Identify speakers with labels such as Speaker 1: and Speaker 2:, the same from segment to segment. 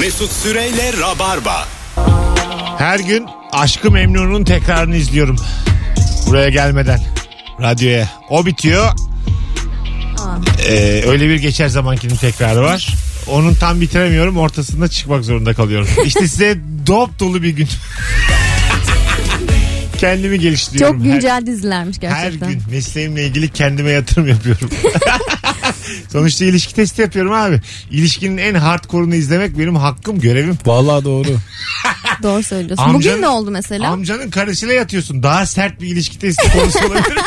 Speaker 1: Mesut Süreyle Rabarba.
Speaker 2: Her gün Aşkı Memnun'un tekrarını izliyorum. Buraya gelmeden. Radyoya. O bitiyor. Ee, öyle bir geçer zamankinin tekrarı var. Onun tam bitiremiyorum. Ortasında çıkmak zorunda kalıyorum. İşte size dop dolu bir gün. Kendimi geliştiriyorum.
Speaker 3: Çok
Speaker 2: her-
Speaker 3: güncel dizilermiş
Speaker 2: her
Speaker 3: gerçekten.
Speaker 2: gün mesleğimle ilgili kendime yatırım yapıyorum. Sonuçta ilişki testi yapıyorum abi. İlişkinin en hardcore'unu izlemek benim hakkım, görevim.
Speaker 4: Vallahi doğru.
Speaker 3: Doğru söylüyorsun.
Speaker 2: Amcanın-
Speaker 3: Bugün ne oldu mesela?
Speaker 2: Amcanın karısıyla yatıyorsun. Daha sert bir ilişki testi konusu olabilir.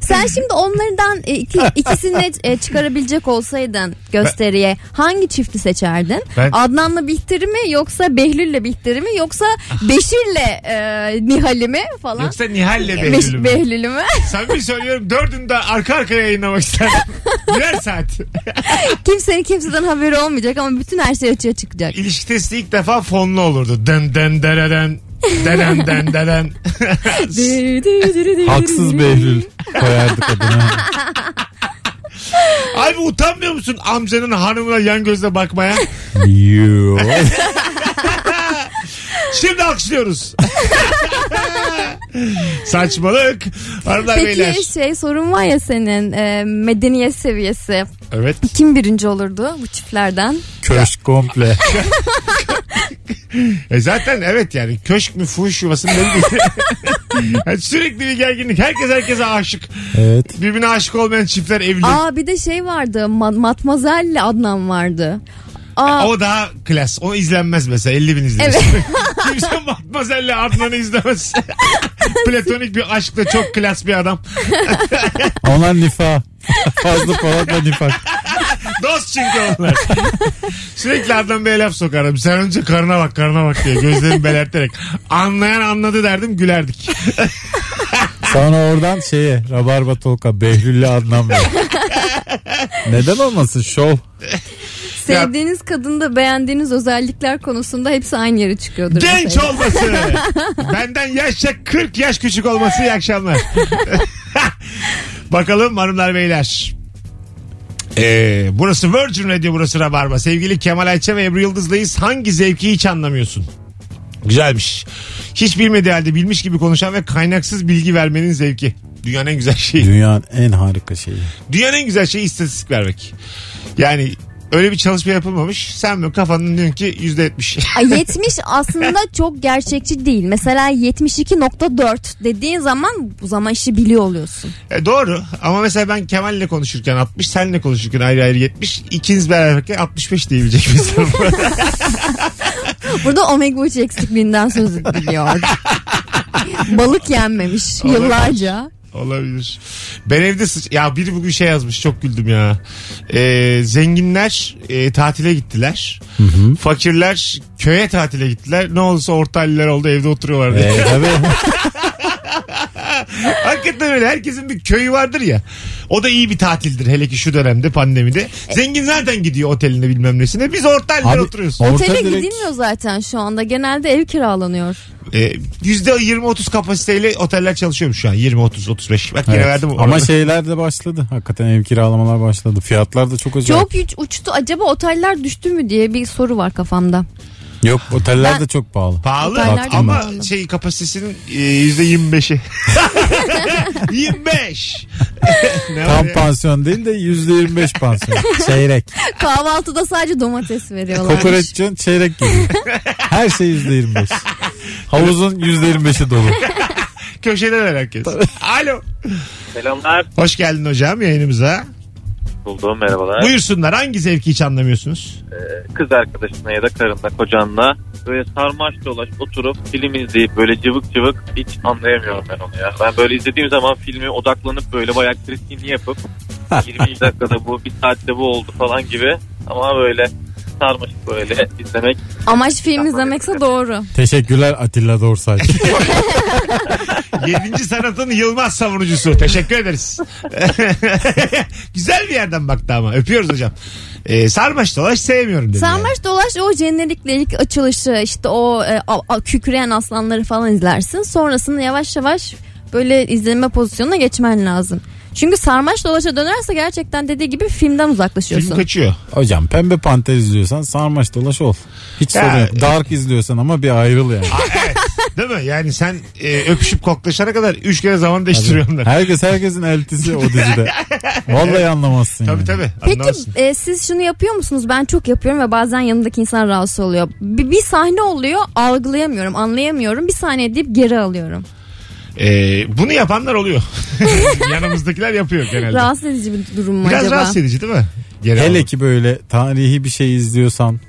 Speaker 3: Sen şimdi onlardan e, iki, ikisini e, çıkarabilecek olsaydın gösteriye hangi çifti seçerdin?
Speaker 2: Ben-
Speaker 3: Adnan'la Bihter'i mi yoksa Behlül'le Bihter'i mi yoksa Beşir'le e, Nihal'i mi falan?
Speaker 2: Ah. Yoksa Nihal'le
Speaker 3: Beş-
Speaker 2: Behlül'ü mü?
Speaker 3: Behlül'ü mü?
Speaker 2: Samimi söylüyorum dördünü de arka arkaya yayınlamak isterdim. Birer saat.
Speaker 3: Kimsenin kimseden haberi olmayacak ama bütün her şey açığa çıkacak.
Speaker 2: İlişki testi ilk defa fonlu olurdu. Dın dın dereden. Deren den deren.
Speaker 4: Haksız Behlül koyardık adına.
Speaker 2: Abi utanmıyor musun amcanın hanımına yan gözle bakmaya?
Speaker 4: Yo.
Speaker 2: Şimdi alkışlıyoruz. Saçmalık. Hanımlar beyler.
Speaker 3: Peki şey sorun var ya senin e, medeniyet seviyesi.
Speaker 2: Evet.
Speaker 3: Kim birinci olurdu bu çiftlerden?
Speaker 4: Köşk komple.
Speaker 2: E zaten evet yani köşk mü fuhuş yuvası mı ne bileyim. Yani Sürekli bir gerginlik. Herkes herkese aşık.
Speaker 4: Evet.
Speaker 2: Birbirine aşık olmayan çiftler evli.
Speaker 3: Aa bir de şey vardı. Ma- Matmazel'le Adnan vardı. Aa,
Speaker 2: O daha klas. O izlenmez mesela. 50 bin izlenir.
Speaker 3: Evet.
Speaker 2: Kimse Matmazel'le Adnan'ı izlemez. Platonik bir aşkla çok klas bir adam.
Speaker 4: Onlar nifa. Fazla Polat'la nifak.
Speaker 2: Dost çünkü onlar. Sürekli Adnan Bey'e laf sokarım. Sen önce karına bak karına bak diye gözlerimi belerterek. Anlayan anladı derdim gülerdik.
Speaker 4: Sonra oradan şeye Rabarba Tolka Behlül'le Adnan Bey. Neden olmasın şov?
Speaker 3: sevdiğiniz kadında beğendiğiniz özellikler konusunda hepsi aynı yere çıkıyordur.
Speaker 2: Genç
Speaker 3: mesela.
Speaker 2: olması. Benden yaşça 40 yaş küçük olması iyi akşamlar. Bakalım hanımlar beyler. Ee, burası Virgin Radio burası Rabarba. Sevgili Kemal Ayça ve Ebru Yıldız'dayız. Hangi zevki hiç anlamıyorsun? Güzelmiş. Hiç bilmediği halde bilmiş gibi konuşan ve kaynaksız bilgi vermenin zevki. Dünyanın en güzel şeyi.
Speaker 4: Dünyanın en harika şeyi.
Speaker 2: Dünyanın en güzel şeyi istatistik vermek. Yani öyle bir çalışma yapılmamış. Sen mi kafanın diyorsun ki %70.
Speaker 3: Ay, 70 aslında çok gerçekçi değil. Mesela 72.4 dediğin zaman bu zaman işi biliyor oluyorsun.
Speaker 2: E doğru ama mesela ben Kemal'le konuşurken 60, senle konuşurken ayrı ayrı 70, ikiniz beraberken 65 diyebilecek mesela.
Speaker 3: Burada omega 3 eksikliğinden söz ediliyor. Balık yenmemiş
Speaker 2: Olabilir.
Speaker 3: yıllarca.
Speaker 2: Olabilir. Ben evde sıç... Ya biri bugün şey yazmış çok güldüm ya. E, zenginler e, tatile gittiler. Fakirler köye tatile gittiler. Ne olursa ortaylılar oldu evde oturuyorlar diye.
Speaker 4: Ee, tabii.
Speaker 2: Hakikaten öyle herkesin bir köyü vardır ya. O da iyi bir tatildir hele ki şu dönemde pandemide. Zengin zaten gidiyor oteline bilmem nesine. Biz ortaylılar
Speaker 4: Abi,
Speaker 2: oturuyoruz.
Speaker 4: o- Orta
Speaker 3: Otele
Speaker 4: direkt-
Speaker 3: gidilmiyor zaten şu anda. Genelde ev kiralanıyor.
Speaker 2: E, %20-30 kapasiteyle oteller çalışıyormuş şu an. 20-30-35. Bak yine
Speaker 4: Evet.
Speaker 2: verdim.
Speaker 4: Ama şey, şeyler de başladı. Hakikaten ev kiralamalar başladı. Fiyatlar da çok acayip.
Speaker 3: Çok uç- uçtu. Acaba oteller düştü mü diye bir soru var kafamda.
Speaker 4: Yok oteller
Speaker 3: Ben-
Speaker 4: de çok pahalı.
Speaker 2: Pahalı
Speaker 3: Oteller
Speaker 4: de
Speaker 2: ama
Speaker 3: pahalı.
Speaker 2: şey kapasitesinin e, %25'i. 25. ne var
Speaker 4: Tam
Speaker 2: ya?
Speaker 4: pansiyon değil de yüzde yirmi beş pansiyon. Çeyrek.
Speaker 3: Kahvaltıda sadece domates veriyorlar.
Speaker 4: Kokoreç yiyorsun, çeyrek gibi. Her şey yüzde yirmi beş. Havuzun yüzde yirmi beşi dolu.
Speaker 2: Köşedeler herkes. Alo.
Speaker 5: Selamlar.
Speaker 2: Hoş geldin hocam yayınımıza.
Speaker 5: Buldum merhabalar.
Speaker 2: Buyursunlar hangi zevki hiç anlamıyorsunuz?
Speaker 5: Kız arkadaşına ya da karınla kocanla böyle sarmaş dolaş oturup film izleyip böyle cıvık cıvık hiç anlayamıyorum ben onu ya. Ben böyle izlediğim zaman filmi odaklanıp böyle bayağı kritiğini yapıp 20 dakikada bu bir saatte bu oldu falan gibi ama böyle sarmaşık böyle izlemek
Speaker 3: Amaç film izlemekse doğru.
Speaker 4: Teşekkürler Atilla Dorsay.
Speaker 2: 7. sanatın Yılmaz savunucusu. Teşekkür ederiz. Güzel bir yerden baktı ama. Öpüyoruz hocam. E, sarmaş dolaş sevmiyorum dedi. yani.
Speaker 3: Sarmaş dolaş o jenerikle ilk açılışı işte o e, a- a- kükreyen aslanları falan izlersin. Sonrasında yavaş yavaş böyle izleme pozisyonuna geçmen lazım. Çünkü sarmaş dolaşa dönerse gerçekten dediği gibi filmden uzaklaşıyorsun.
Speaker 2: Film kaçıyor.
Speaker 4: Hocam pembe panter izliyorsan sarmaş dolaş ol. Hiç
Speaker 2: Ya, e-
Speaker 4: sorun yok. Dark izliyorsan ama bir ayrıl yani.
Speaker 2: Değil mi? Yani sen e, öpüşüp koklaşana kadar üç kere zaman değiştiriyorlar.
Speaker 4: Herkes herkesin eltisi o dizide. Vallahi anlamazsın
Speaker 2: Tabii
Speaker 4: yani.
Speaker 2: tabii.
Speaker 3: Peki
Speaker 2: Anlarsın.
Speaker 3: e, siz şunu yapıyor musunuz? Ben çok yapıyorum ve bazen yanındaki insan rahatsız oluyor. Bir, bir sahne oluyor algılayamıyorum anlayamıyorum. Bir saniye deyip geri alıyorum.
Speaker 2: E, bunu yapanlar oluyor. Yanımızdakiler yapıyor genelde.
Speaker 3: Rahatsız edici bir durum mu
Speaker 2: Biraz
Speaker 3: acaba?
Speaker 2: rahatsız edici değil mi? Genel
Speaker 4: Hele
Speaker 2: olarak.
Speaker 4: ki böyle tarihi bir şey izliyorsan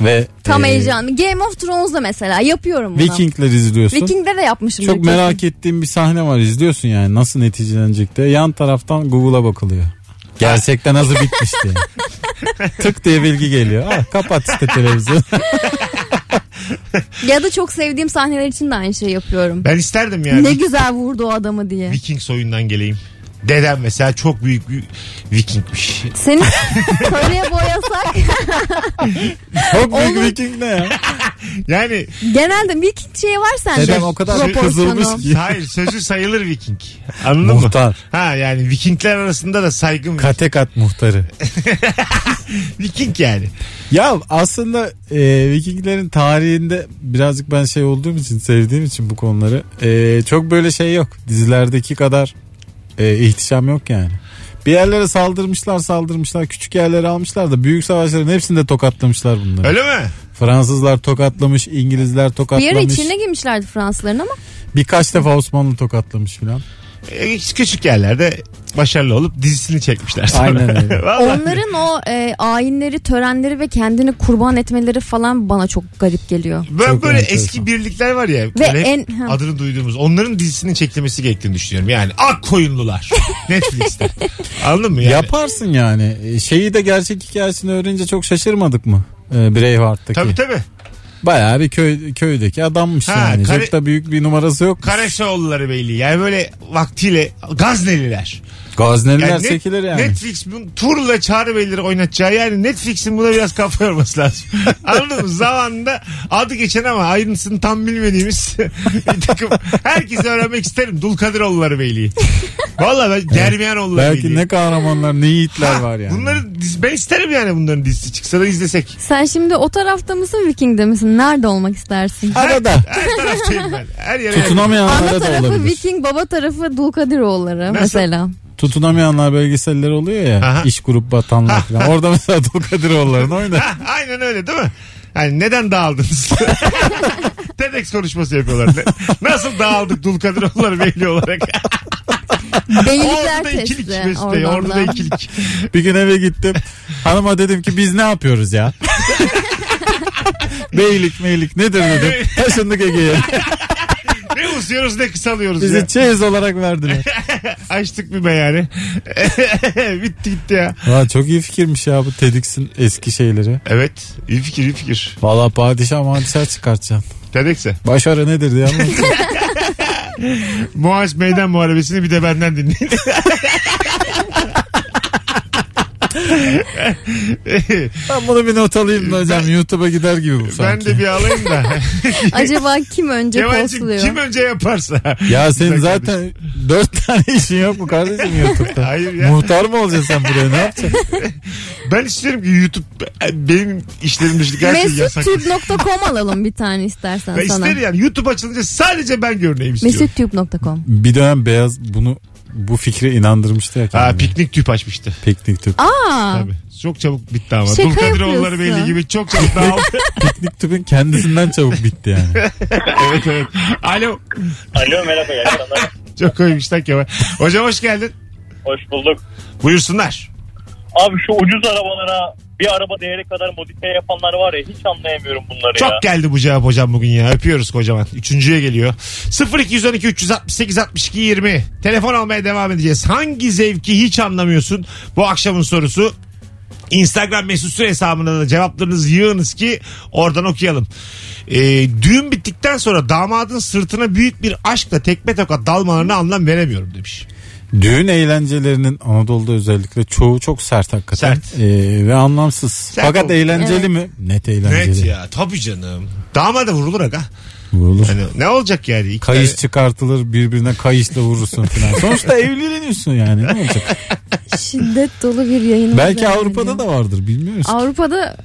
Speaker 4: ve
Speaker 3: Tam
Speaker 4: e,
Speaker 3: heyecanlı. Game of Thrones'da mesela yapıyorum bunu.
Speaker 4: Vikingler izliyorsun.
Speaker 3: Viking'de de yapmışım.
Speaker 4: Çok merak ettiğim bir sahne var izliyorsun yani nasıl neticelenecek diye. Yan taraftan Google'a bakılıyor. Gerçekten nasıl bitmiş diye. Tık diye bilgi geliyor. Ah, kapat işte televizyonu.
Speaker 3: Ya da çok sevdiğim sahneler için de aynı şeyi yapıyorum.
Speaker 2: Ben isterdim yani.
Speaker 3: Ne güzel vurdu o adamı diye.
Speaker 2: Viking soyundan geleyim. Dedem mesela çok büyük bir Vikingmiş.
Speaker 3: Seni köylüye boyasak
Speaker 4: Çok büyük Viking ne ya?
Speaker 2: Yani
Speaker 3: genelde Viking şeyi var sende.
Speaker 4: Dedem o kadar
Speaker 3: Proporsiyonu.
Speaker 4: kızılmış ki.
Speaker 2: hayır sözü sayılır Viking. Anladın mı?
Speaker 4: Muhtar.
Speaker 2: Ha yani Vikingler arasında da saygım var.
Speaker 4: Katekat muhtarı.
Speaker 2: Viking yani.
Speaker 4: Ya aslında e, Vikinglerin tarihinde birazcık ben şey olduğum için sevdiğim için bu konuları e, çok böyle şey yok. Dizilerdeki kadar e, ihtişam yok yani. Bir yerlere saldırmışlar saldırmışlar küçük yerleri almışlar da büyük savaşların hepsinde tokatlamışlar bunları.
Speaker 2: Öyle mi?
Speaker 4: Fransızlar tokatlamış İngilizler
Speaker 3: Bir yere
Speaker 4: tokatlamış
Speaker 3: içine girmişlerdi Fransızların ama
Speaker 4: birkaç defa Osmanlı tokatlamış filan.
Speaker 2: E, küçük yerlerde başarılı olup dizisini çekmişler. sonra.
Speaker 4: Aynen öyle.
Speaker 2: Vallahi.
Speaker 3: onların o e, ayinleri, törenleri ve kendini kurban etmeleri falan bana çok garip geliyor.
Speaker 2: Ben
Speaker 4: Çok
Speaker 2: böyle
Speaker 4: enteresan.
Speaker 2: eski birlikler var ya. böyle
Speaker 3: en-
Speaker 2: hep
Speaker 3: ha.
Speaker 2: adını duyduğumuz. Onların dizisinin çekilmesi gerektiğini düşünüyorum. Yani Ak Koyunlular. Netflix'te. Anladın mı? Yani?
Speaker 4: Yaparsın yani. E, Şeyi de gerçek hikayesini öğrenince çok şaşırmadık mı? E, Braveheart'taki.
Speaker 2: Tabii tabii.
Speaker 4: Bayağı bir köy, köydeki adammış
Speaker 2: Ha,
Speaker 4: yani.
Speaker 2: kare-
Speaker 4: Çok da büyük bir numarası yok.
Speaker 2: Karaşoğulları belli. Yani böyle vaktiyle Gazneliler.
Speaker 4: Gazneliler
Speaker 2: Yani net-
Speaker 4: sekilir yani.
Speaker 2: Netflix bu- turla Çağrı Beyleri oynatacağı yani Netflix'in buna biraz kafa yorması lazım. Anladın mı? Zamanında adı geçen ama ayrıntısını tam bilmediğimiz bir takım. Herkese öğrenmek isterim. Dulkadiroğulları Beyliği. Valla ben Germiyanoğulları
Speaker 4: Belki
Speaker 2: Beyliği.
Speaker 4: ne kahramanlar ne yiğitler var yani.
Speaker 2: Bunları diz- ben isterim yani bunların dizisi çıksa da izlesek.
Speaker 3: Sen şimdi o tarafta mısın Viking'de misin? Nerede olmak istersin?
Speaker 4: Arada.
Speaker 2: Her taraftayım ben. Her yere.
Speaker 3: Ana
Speaker 4: Tutunamayanlara da
Speaker 3: tarafı
Speaker 4: olabilir.
Speaker 3: Viking, baba tarafı Dulkadiroğulları
Speaker 2: Nasıl?
Speaker 3: mesela.
Speaker 4: Tutunamayanlar belgeseller oluyor ya.
Speaker 2: Aha.
Speaker 4: İş grup batanlar falan. Orada mesela Dulkadiroğulları'nı oynar.
Speaker 2: Ha, aynen öyle değil mi? Yani neden dağıldınız? TEDx konuşması yapıyorlar. Ne- Nasıl dağıldık Dulkadiroğulları Beyliği olarak?
Speaker 3: Beylikler
Speaker 2: Orada ikilik
Speaker 3: testi.
Speaker 2: Mesut Bey. Orada
Speaker 3: Oradan
Speaker 2: da
Speaker 3: da.
Speaker 2: ikilik.
Speaker 4: Bir gün eve gittim. Hanıma dedim ki biz ne yapıyoruz ya? Beylik meylik nedir dedim. Taşındık Ege'ye.
Speaker 2: Ne uzuyoruz ne kısalıyoruz ya.
Speaker 4: Bizi çeyiz olarak verdiler.
Speaker 2: Açtık bir meyhane. Bitti gitti ya.
Speaker 4: Valla çok iyi fikirmiş ya bu TEDx'in eski şeyleri.
Speaker 2: Evet. iyi fikir iyi fikir.
Speaker 4: Valla padişah madişah çıkartacaksın.
Speaker 2: TEDx'e.
Speaker 4: Başarı nedir diye anlat.
Speaker 2: Muaz Meydan Muharebesi'ni bir de benden dinleyin.
Speaker 4: Ben bunu bir not alayım da hocam. YouTube'a gider gibi bu
Speaker 2: ben
Speaker 4: sanki.
Speaker 2: de bir alayım da.
Speaker 3: Acaba kim önce
Speaker 2: Kemal'cim
Speaker 3: postluyor?
Speaker 2: kim önce yaparsa.
Speaker 4: Ya senin
Speaker 2: Güzel
Speaker 4: zaten dört tane işin yok mu kardeşim YouTube'da?
Speaker 2: Hayır ya.
Speaker 4: Muhtar mı olacaksın sen buraya ne yapacaksın?
Speaker 2: Ben istiyorum ki YouTube benim işlerim dışında her şeyi yasak.
Speaker 3: Mesutube.com alalım bir tane istersen
Speaker 2: Ben
Speaker 3: sana.
Speaker 2: isterim yani YouTube açılınca sadece ben görüneyim istiyorum.
Speaker 3: Mesutube.com.
Speaker 4: Bir dönem Beyaz bunu bu fikre inandırmıştı ya
Speaker 2: Ha,
Speaker 4: kendini.
Speaker 2: piknik tüp açmıştı.
Speaker 4: Piknik
Speaker 3: Ah.
Speaker 4: tüp.
Speaker 3: Aa.
Speaker 2: Tabii. Çok çabuk bitti ama.
Speaker 3: Şaka
Speaker 2: Dulkadiroğulları
Speaker 3: yapıyorsun.
Speaker 2: belli gibi çok çabuk dağıldı.
Speaker 4: Piknik tüpün kendisinden çabuk bitti yani.
Speaker 2: evet evet. Alo.
Speaker 6: Alo merhaba iyi akşamlar.
Speaker 2: Çok koymuş lan Kemal. Hocam hoş geldin.
Speaker 6: Hoş bulduk.
Speaker 2: Buyursunlar.
Speaker 6: Abi şu ucuz arabalara bir araba değeri kadar modifiye yapanlar var ya hiç anlayamıyorum bunları ya.
Speaker 2: Çok geldi bu cevap hocam bugün ya. Öpüyoruz kocaman. Üçüncüye geliyor. 0212 368 62 20. Telefon almaya devam edeceğiz. Hangi zevki hiç anlamıyorsun? Bu akşamın sorusu. Instagram mesut süre hesabına da cevaplarınızı yığınız ki oradan okuyalım. Ee, düğün bittikten sonra damadın sırtına büyük bir aşkla tekme tokat dalmalarına anlam veremiyorum demiş.
Speaker 4: Düğün eğlencelerinin Anadolu'da özellikle çoğu çok sert hakikaten.
Speaker 2: Sert.
Speaker 4: Ee, ve anlamsız. Fakat
Speaker 2: oldu.
Speaker 4: eğlenceli
Speaker 3: Evet.
Speaker 4: mi? Net eğlenceli.
Speaker 2: Evet ya tabii canım. Damada vurulur aga.
Speaker 4: Vurulur.
Speaker 2: Hani ne olacak yani? İki
Speaker 4: Kayış
Speaker 2: tane-
Speaker 4: çıkartılır birbirine kayışla vurursun falan. Sonuçta evleniyorsun yani. Ne olacak?
Speaker 3: Şiddet dolu bir yayın.
Speaker 4: Belki Avrupa'da da vardır bilmiyoruz.
Speaker 3: Avrupa'da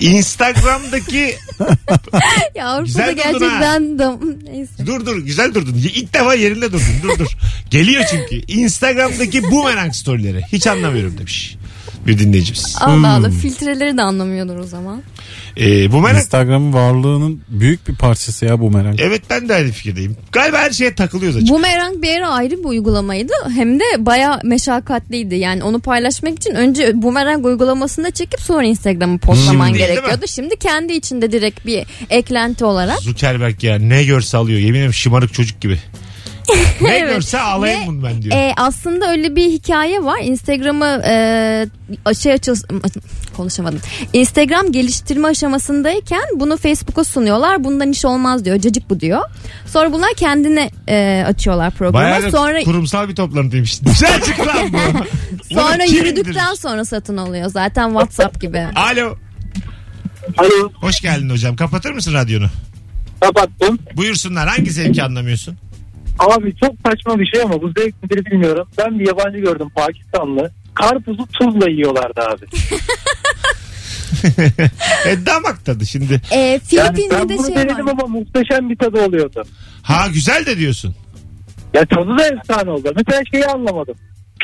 Speaker 2: Instagram'daki
Speaker 3: ya Avrupa'da
Speaker 2: Güzel durdun ha.
Speaker 3: gerçekten dam neyse.
Speaker 2: dur dur güzel durdun. İlk defa yerinde durdun. Dur dur. Geliyor çünkü. Instagram'daki boomerang storyleri. Hiç anlamıyorum demiş. Bir dinleyicimiz.
Speaker 3: Allah Allah filtreleri de anlamıyordur o zaman.
Speaker 2: Ee, boomerang
Speaker 4: Instagram'ın varlığının büyük bir parçası ya bu merak.
Speaker 2: Evet ben de aynı fikirdeyim. Galiba her şeye takılıyoruz açık.
Speaker 3: Boomerang bir ara ayrı bir uygulamaydı. Hem de baya meşakkatliydi. Yani onu paylaşmak için önce Boomerang uygulamasını da çekip sonra Instagram'a postlaman
Speaker 2: Şimdi, değil mi?
Speaker 3: gerekiyordu. Şimdi kendi içinde direkt bir eklenti olarak.
Speaker 2: Zuckerberg ya ne görse alıyor. Yemin ederim şımarık çocuk gibi. Ne görse alayım
Speaker 3: Ve,
Speaker 2: bunu ben diyor.
Speaker 3: e, aslında öyle bir hikaye var. Instagram'ı e, şey açıl konuşamadım. Instagram geliştirme aşamasındayken bunu Facebook'a sunuyorlar. Bundan iş olmaz diyor. Cacık bu diyor. Sonra bunlar kendine e, açıyorlar programı.
Speaker 2: Bayağı da
Speaker 3: sonra
Speaker 2: kurumsal bir toplantıymış. Güzel çıktı lan bu. Bunu
Speaker 3: sonra
Speaker 2: kim
Speaker 3: yürüdükten
Speaker 2: indirir?
Speaker 3: sonra satın alıyor zaten WhatsApp gibi.
Speaker 2: Alo.
Speaker 7: Alo
Speaker 2: Hoş geldin hocam. Kapatır mısın radyonu?
Speaker 7: kapattım.
Speaker 2: Buyursunlar. Hangi zevki anlamıyorsun?
Speaker 7: Abi çok saçma bir şey ama bu zevk midir bilmiyorum. Ben bir yabancı gördüm Pakistanlı. Karpuzu tuzla yiyorlardı abi.
Speaker 2: E damak tadı şimdi.
Speaker 3: E,
Speaker 7: Yani
Speaker 3: Filipin'de
Speaker 7: ben
Speaker 3: de
Speaker 7: bunu
Speaker 3: şey
Speaker 7: denedim
Speaker 3: var.
Speaker 7: ama muhteşem bir tadı oluyordu.
Speaker 2: Ha güzel de diyorsun.
Speaker 7: Ya tadı da efsane oldu. Mesela şeyi anlamadım.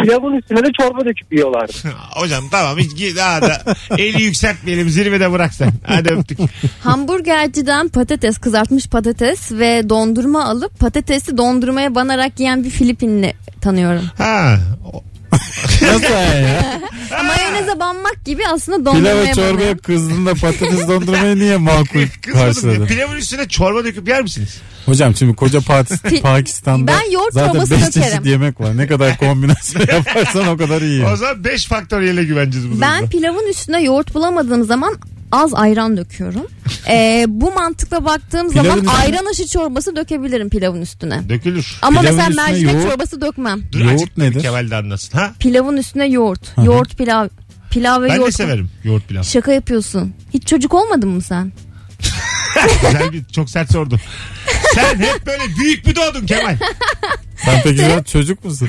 Speaker 7: Pilavın üstüne de çorba döküp yiyorlardı.
Speaker 2: hocam tamam hiç gi- daha da eli yükseltmeyelim zirvede bırak sen. Hadi öptük.
Speaker 3: Hamburgerciden patates kızartmış patates ve dondurma alıp patatesi dondurmaya banarak yiyen bir Filipinli tanıyorum.
Speaker 2: Ha. o-
Speaker 4: Nasıl ya?
Speaker 3: Mayoneze banmak gibi aslında
Speaker 4: Pilav ve
Speaker 3: dondurmaya banıyor.
Speaker 4: çorbaya kızdığında patates dondurmayı niye makul
Speaker 2: Kızmadım. ya.
Speaker 4: karşıladı?
Speaker 2: Pilavın üstüne çorba döküp yer misiniz?
Speaker 4: Hocam şimdi koca Pat-
Speaker 3: Pi-
Speaker 4: Pakistan'da
Speaker 3: Ben yoğurt
Speaker 4: zaten
Speaker 3: çorbası
Speaker 4: 5
Speaker 3: dökerim.
Speaker 4: çeşit yemek var. Ne kadar kombinasyon yaparsan o kadar iyi.
Speaker 2: O zaman 5 faktöriyele güveneceğiz bu
Speaker 3: Ben
Speaker 2: durumda.
Speaker 3: pilavın üstüne yoğurt bulamadığım zaman az ayran döküyorum. Ee, bu mantıkla baktığım
Speaker 4: Pilavın
Speaker 3: zaman
Speaker 4: üstüne-
Speaker 3: ayran aşı çorbası dökebilirim pilavın üstüne.
Speaker 2: Dökülür.
Speaker 3: Ama
Speaker 4: Pilavın
Speaker 3: mesela
Speaker 4: üstüne
Speaker 3: mercimek
Speaker 4: yoğurt-
Speaker 3: çorbası dökmem.
Speaker 2: Dur,
Speaker 4: Yoğurt
Speaker 2: azıcık da bir
Speaker 4: nedir?
Speaker 2: Kemal de anlasın. Ha?
Speaker 3: Pilavın üstüne yoğurt.
Speaker 4: hı.
Speaker 3: Yoğurt pilav. Pilav ve
Speaker 2: Ben de
Speaker 3: yoğurt.
Speaker 2: severim yoğurt pilav.
Speaker 3: Şaka yapıyorsun. Hiç çocuk olmadın mı sen?
Speaker 2: Güzel bir, çok sert sordu. Sen hep böyle büyük mü doğdun Kemal?
Speaker 4: Sen peki biraz çocuk musun?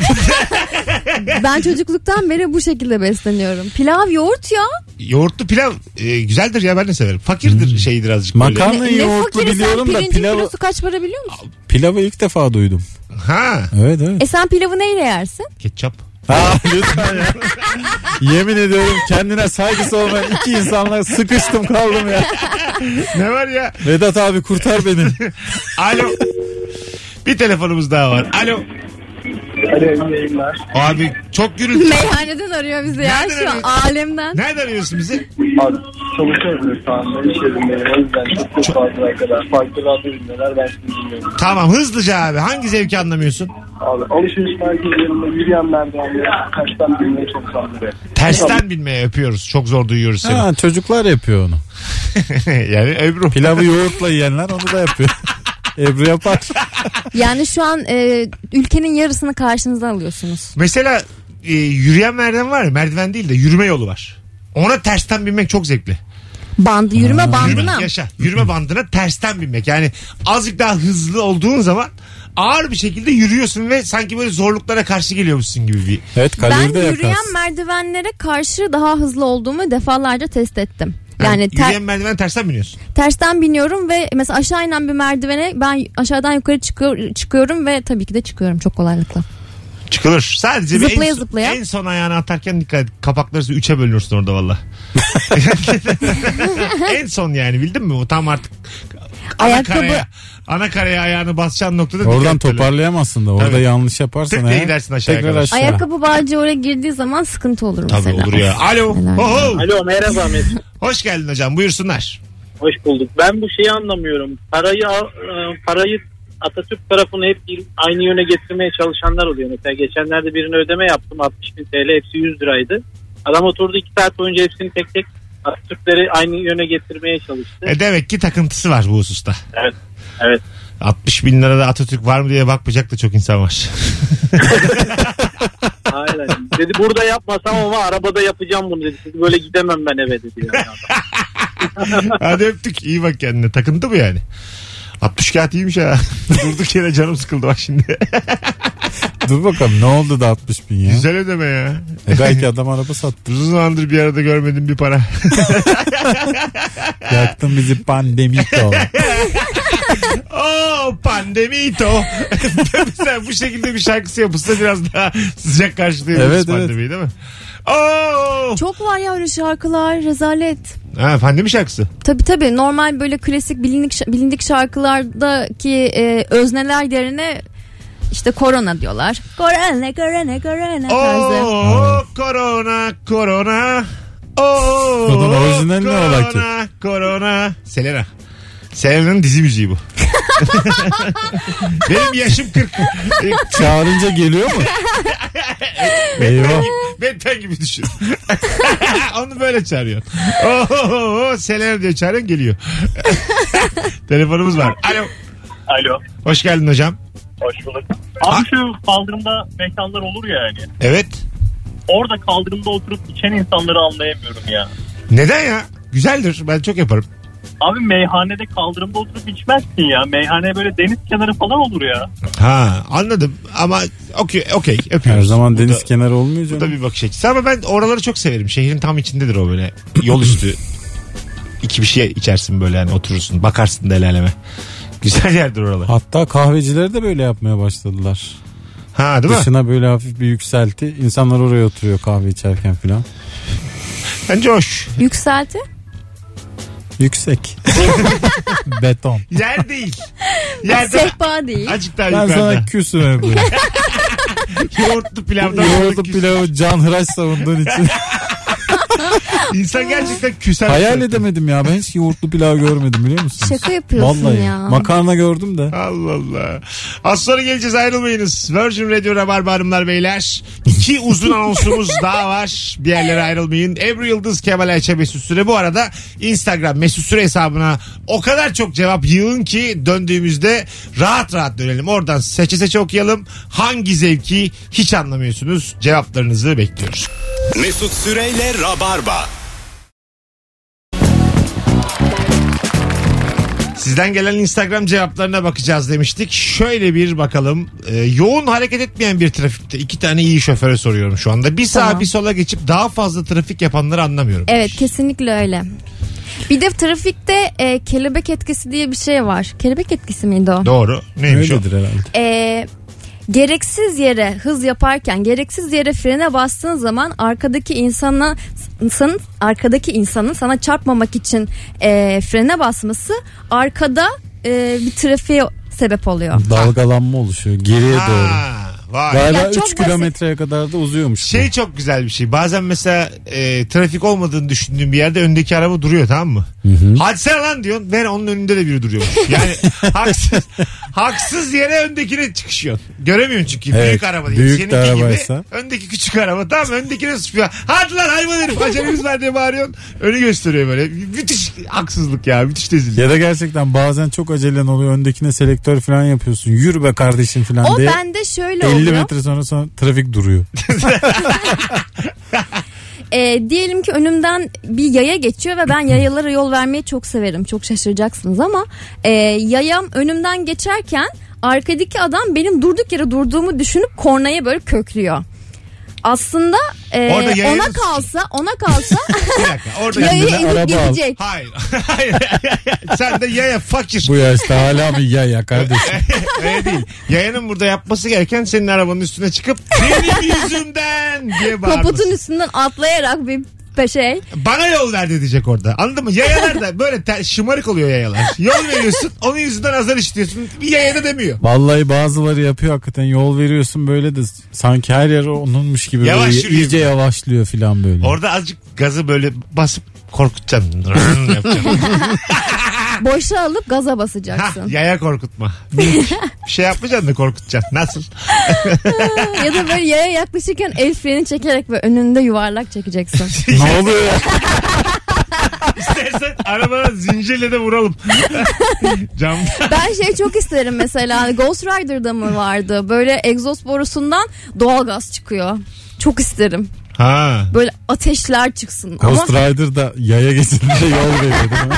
Speaker 3: Ben çocukluktan beri bu şekilde besleniyorum. Pilav yoğurt ya.
Speaker 2: Yoğurtlu pilav e, güzeldir ya ben de severim. Fakirdir
Speaker 4: Hmm.
Speaker 2: şeydir azıcık. böyle.
Speaker 4: Makarna yoğurtlu
Speaker 3: fakiri sen
Speaker 4: biliyorum da
Speaker 3: pirincin
Speaker 4: pilavı,
Speaker 3: kilosu kaç para biliyor musun?
Speaker 4: pilavı ilk defa duydum.
Speaker 2: Ha.
Speaker 4: Evet evet.
Speaker 3: E sen pilavı neyle yersin?
Speaker 2: Ketçap.
Speaker 4: Ha, lütfen ya. Yemin ediyorum kendine saygısı olmayan iki insanla sıkıştım kaldım ya.
Speaker 2: Ne var ya?
Speaker 4: Vedat abi kurtar beni.
Speaker 2: Alo. Bir telefonumuz daha var. Alo. Abi çok gürültü.
Speaker 3: Meyhaneden arıyor bizi ya
Speaker 2: Nereden
Speaker 3: şu an
Speaker 2: arıyorsun?
Speaker 3: alemden.
Speaker 2: Nereden arıyorsun bizi?
Speaker 8: Abi çalışıyorum şu anda iş yerindeyim. O yüzden çok çok fazla kadar farklı radyo dinliyorlar. Ben şimdi dinliyorum.
Speaker 2: Tamam hızlıca abi. Hangi zevki anlamıyorsun?
Speaker 8: Abi alışveriş merkezlerinde yürüyen merdivenleri kaçtan bilmeye çok saldırıyor.
Speaker 2: Tersten binmeye öpüyoruz. Çok zor duyuyoruz seni.
Speaker 4: Ha, çocuklar yapıyor onu.
Speaker 2: yani Ebru.
Speaker 4: Pilavı yoğurtla yiyenler onu da yapıyor. Ebru yapar.
Speaker 3: Yani şu an e, ülkenin yarısını karşınıza alıyorsunuz.
Speaker 2: Mesela e, yürüyen merdiven var ya merdiven değil de yürüme yolu var. Ona tersten binmek çok zevkli.
Speaker 3: Bandı yürüme
Speaker 2: Yürüme,
Speaker 3: bandına.
Speaker 2: yaşa. Yürüme bandına tersten binmek. Yani azıcık daha hızlı olduğun zaman ağır bir şekilde yürüyorsun ve sanki böyle zorluklara karşı geliyormuşsun gibi bir.
Speaker 4: Evet
Speaker 3: Ben
Speaker 4: kalori de
Speaker 3: yürüyen
Speaker 4: yakarsın.
Speaker 3: merdivenlere karşı daha hızlı olduğumu defalarca test ettim. Yani ter-
Speaker 2: yürüyen merdiven tersten biniyorsun.
Speaker 3: tersten biniyorum ve mesela aşağı inen bir merdivene ben aşağıdan yukarı çıkıyor, çıkıyorum ve tabii ki de çıkıyorum çok kolaylıkla.
Speaker 2: Çıkılır. Sadece bir
Speaker 3: Zıplaya
Speaker 2: en,
Speaker 3: zıplaya.
Speaker 2: en son ayağını atarken dikkat et. Kapakları üçe bölünürsün orada valla. en son yani bildin mi? O tam artık ana
Speaker 3: Ayakkabı-
Speaker 2: karaya, ana karaya ayağını basacağın noktada dikkat
Speaker 4: Oradan
Speaker 2: et böyle.
Speaker 4: toparlayamazsın da orada
Speaker 2: Tabii.
Speaker 4: yanlış yaparsan
Speaker 2: Tık diye
Speaker 4: eğer
Speaker 2: gidersin aşağıya
Speaker 4: tekrar
Speaker 2: kadar.
Speaker 4: aşağı.
Speaker 3: Ayakkabı bağcı oraya girdiği zaman sıkıntı olur mesela.
Speaker 2: Tabii olur ya. Alo.
Speaker 3: Helal
Speaker 2: Oho.
Speaker 7: Alo merhaba Mesut.
Speaker 2: Hoş geldin hocam. Buyursunlar.
Speaker 7: Hoş bulduk. Ben bu şeyi anlamıyorum. Parayı al- e, parayı Atatürk tarafını hep il- aynı yöne getirmeye çalışanlar oluyor. Mesela geçenlerde birine ödeme yaptım 60 bin TL hepsi 100 liraydı. Adam oturdu 2 saat boyunca hepsini tek tek Atatürkleri aynı yöne getirmeye çalıştı.
Speaker 2: E demek ki takıntısı var bu hususta.
Speaker 7: Evet, evet.
Speaker 2: 60 bin lirada Atatürk var mı diye bakmayacak da çok insan var.
Speaker 7: Aynen. Dedi burada yapmasam ama arabada yapacağım bunu dedi. Siz böyle gidemem ben eve dedi. Yani.
Speaker 2: Hadi öptük. İyi bak kendine. Takıntı mı yani? 60 kağıt iyiymiş ha. Durduk yere canım sıkıldı bak şimdi.
Speaker 4: Dur bakalım ne oldu da 60 bin ya?
Speaker 2: Güzel ödeme ya.
Speaker 4: E belki adam araba sattı.
Speaker 2: Uzun zamandır bir arada görmedim bir para.
Speaker 4: Yaktın bizi pandemik de olan.
Speaker 2: Oo pandemito. Mesela bu şekilde bir şarkısı yapılsa biraz daha sıcak karşılayabiliriz
Speaker 4: Evet, evet.
Speaker 2: pandemiyi değil mi? Oo.
Speaker 3: Çok var ya öyle şarkılar rezalet.
Speaker 2: Ha, pandemi şarkısı.
Speaker 3: Tabi tabi normal böyle klasik bilindik şa- bilindik şarkılardaki e, özneler yerine işte korona diyorlar. Korona korona korona tarzı.
Speaker 2: Oo korona korona. Oo.
Speaker 4: Bunun orijinali ne
Speaker 2: korona,
Speaker 4: ola ki?
Speaker 2: Korona. Selena. Selena'nın dizi müziği bu. Benim yaşım 40.
Speaker 4: Çağırınca geliyor mu? Eyvah.
Speaker 2: Benten gibi düşün. Onu böyle çağırıyorsun. Oo, Selena diye çağırıyorsun geliyor. Telefonumuz var. Alo.
Speaker 6: Alo.
Speaker 2: Hoş geldin hocam.
Speaker 6: Hoş bulduk. Abi şu kaldırımda mekanlar olur ya yani.
Speaker 2: Evet.
Speaker 6: Orada kaldırımda oturup içen insanları anlayamıyorum ya.
Speaker 2: Neden ya? Güzeldir. Ben çok yaparım.
Speaker 6: Abi meyhanede kaldırımda oturup içmezsin ya. Meyhane böyle deniz kenarı falan olur ya.
Speaker 2: Ha anladım ama okey okey
Speaker 4: Her
Speaker 2: öpüyoruz.
Speaker 4: zaman
Speaker 2: Bu
Speaker 4: deniz
Speaker 2: da-
Speaker 4: kenarı olmuyor
Speaker 2: Bu da
Speaker 4: canım.
Speaker 2: bir bakış açısı ama ben oraları çok severim. Şehrin tam içindedir o böyle yol üstü. İki bir şey içersin böyle yani oturursun bakarsın del aleme. Güzel yerdir oralar.
Speaker 4: Hatta kahvecileri de böyle yapmaya başladılar.
Speaker 2: Ha değil mi?
Speaker 4: Dışına böyle hafif bir yükselti. İnsanlar oraya oturuyor kahve içerken filan.
Speaker 2: Bence hoş.
Speaker 3: Yükselti.
Speaker 4: Yüksek. Beton.
Speaker 2: Yer değil. Yer değil.
Speaker 3: Sehpa değil.
Speaker 2: Azıcık daha
Speaker 4: Ben
Speaker 2: yukarıda.
Speaker 4: sana küsüm Ebru.
Speaker 2: Yoğurtlu pilavdan
Speaker 4: Yoğurdu
Speaker 2: küs-
Speaker 4: pilavı can hıraş savunduğun için.
Speaker 2: İnsan gerçekten küser.
Speaker 4: Hayal edemedim ya. Ben hiç yoğurtlu pilav görmedim biliyor musun?
Speaker 3: Şaka yapıyorsun
Speaker 4: Vallahi.
Speaker 3: ya.
Speaker 4: Makarna gördüm de.
Speaker 2: Allah Allah. Az sonra geleceğiz ayrılmayınız. Virgin Radio Rabarba Hanımlar Beyler. İki uzun anonsumuz daha var. Bir yerlere ayrılmayın. Ebru Yıldız Kemal Ayça Mesut Süre. Bu arada Instagram Mesut Süre hesabına o kadar çok cevap yığın ki döndüğümüzde rahat rahat dönelim. Oradan seçe seçe okuyalım. Hangi zevki hiç anlamıyorsunuz? Cevaplarınızı bekliyoruz.
Speaker 1: Mesut Süreyle Rabarba.
Speaker 2: Sizden gelen Instagram cevaplarına bakacağız demiştik. Şöyle bir bakalım. Ee, yoğun hareket etmeyen bir trafikte iki tane iyi şoföre soruyorum şu anda. Bir sağa
Speaker 3: Tamam.
Speaker 2: bir sola geçip daha fazla trafik yapanları anlamıyorum.
Speaker 3: Evet kesinlikle öyle. Bir de trafikte e, kelebek etkisi diye bir şey var. Kelebek etkisi miydi o?
Speaker 2: Doğru. Neymiş o?
Speaker 4: Öyledir herhalde.
Speaker 3: E, gereksiz yere hız yaparken gereksiz yere frene bastığın zaman arkadaki insana insanın arkadaki insanın sana çarpmamak için e, frene basması arkada e, bir trafiğe sebep oluyor.
Speaker 4: Dalgalanma oluşuyor. Geriye doğru.
Speaker 2: Ha, vay.
Speaker 4: Galiba
Speaker 3: Ya çok
Speaker 4: 3
Speaker 3: basit.
Speaker 4: kilometreye kadar da uzuyormuş. bu.
Speaker 2: Şey çok güzel bir şey. Bazen mesela e, trafik olmadığını düşündüğün bir yerde öndeki araba duruyor tamam mı? Hadi sen lan diyorsun. Ben onun önünde de biri duruyormuş. Yani haksız, haksız yere öndekine çıkışıyorsun. Göremiyorsun çünkü
Speaker 4: Evet,
Speaker 2: büyük araba değil.
Speaker 4: büyük de
Speaker 2: Seninki
Speaker 4: arabaysa.
Speaker 2: gibi öndeki küçük araba. Tamam öndekine suçluyor. Hadi lan hayvan herif acelemiz var diye bağırıyorsun. Önü gösteriyor böyle. Müthiş haksızlık ya. Müthiş rezillik.
Speaker 4: Ya da gerçekten bazen çok acelen oluyor. Öndekine selektör falan yapıyorsun. Yürü be kardeşim falan
Speaker 3: O
Speaker 4: diye.
Speaker 3: bende şöyle
Speaker 4: 50
Speaker 3: oluyor.
Speaker 4: metre sonra, sonra trafik duruyor.
Speaker 3: E, diyelim ki önümden bir yaya geçiyor ve ben yayalara yol vermeyi çok severim. Çok şaşıracaksınız ama e, yayam önümden geçerken arkadaki adam benim durduk yere durduğumu düşünüp kornaya böyle köklüyor. Aslında e,
Speaker 2: Orada yayayı
Speaker 3: ona
Speaker 2: nasıl-
Speaker 3: kalsa ona kalsa
Speaker 2: Bir dakika. Orada
Speaker 3: yayı
Speaker 4: Kendine araba al.
Speaker 3: ezip gidecek.
Speaker 2: Hayır. Hayır. sen de yaya fakir.
Speaker 4: Bu yaşta hala mı yaya kardeşim?
Speaker 2: Öyle değil. Yayanın burada yapması gereken senin arabanın üstüne çıkıp benim yüzümden diye
Speaker 3: Kaputun
Speaker 2: bağırması.
Speaker 3: üstünden atlayarak bir pe- şey.
Speaker 2: Bana yol ver de diyecek orada. Anladın mı? Yayalar da böyle ter- şımarık oluyor yayalar. Yol veriyorsun onun yüzünden azar işitiyorsun. Bir yaya da demiyor.
Speaker 4: Vallahi bazıları yapıyor hakikaten. Yol veriyorsun böyle de sanki her yer onunmuş gibi.
Speaker 2: Yavaş
Speaker 4: böyle,
Speaker 2: yürüyeyim.
Speaker 4: iyice yavaşlıyor falan böyle.
Speaker 2: Orada azıcık gazı böyle basıp korkutacaksın. Yapacaksın.
Speaker 3: Boşa alıp gaza
Speaker 2: Hah,
Speaker 3: basacaksın.
Speaker 2: yaya korkutma. Bir şey yapmayacaksın da korkutacaksın. Nasıl?
Speaker 3: ya da böyle yaya yaklaşırken el freni çekerek ve önünde yuvarlak çekeceksin.
Speaker 4: ne oluyor ya?
Speaker 2: istersen arabana zincirle de vuralım. Cam.
Speaker 3: Ben şey çok isterim mesela hani Ghost Rider'da mı vardı? Böyle egzoz borusundan doğalgaz çıkıyor. Çok isterim.
Speaker 2: Ha.
Speaker 3: Böyle ateşler çıksın.
Speaker 4: Ghost
Speaker 3: Ama
Speaker 4: Rider'da yaya geçidinde yol veriyor değil mi?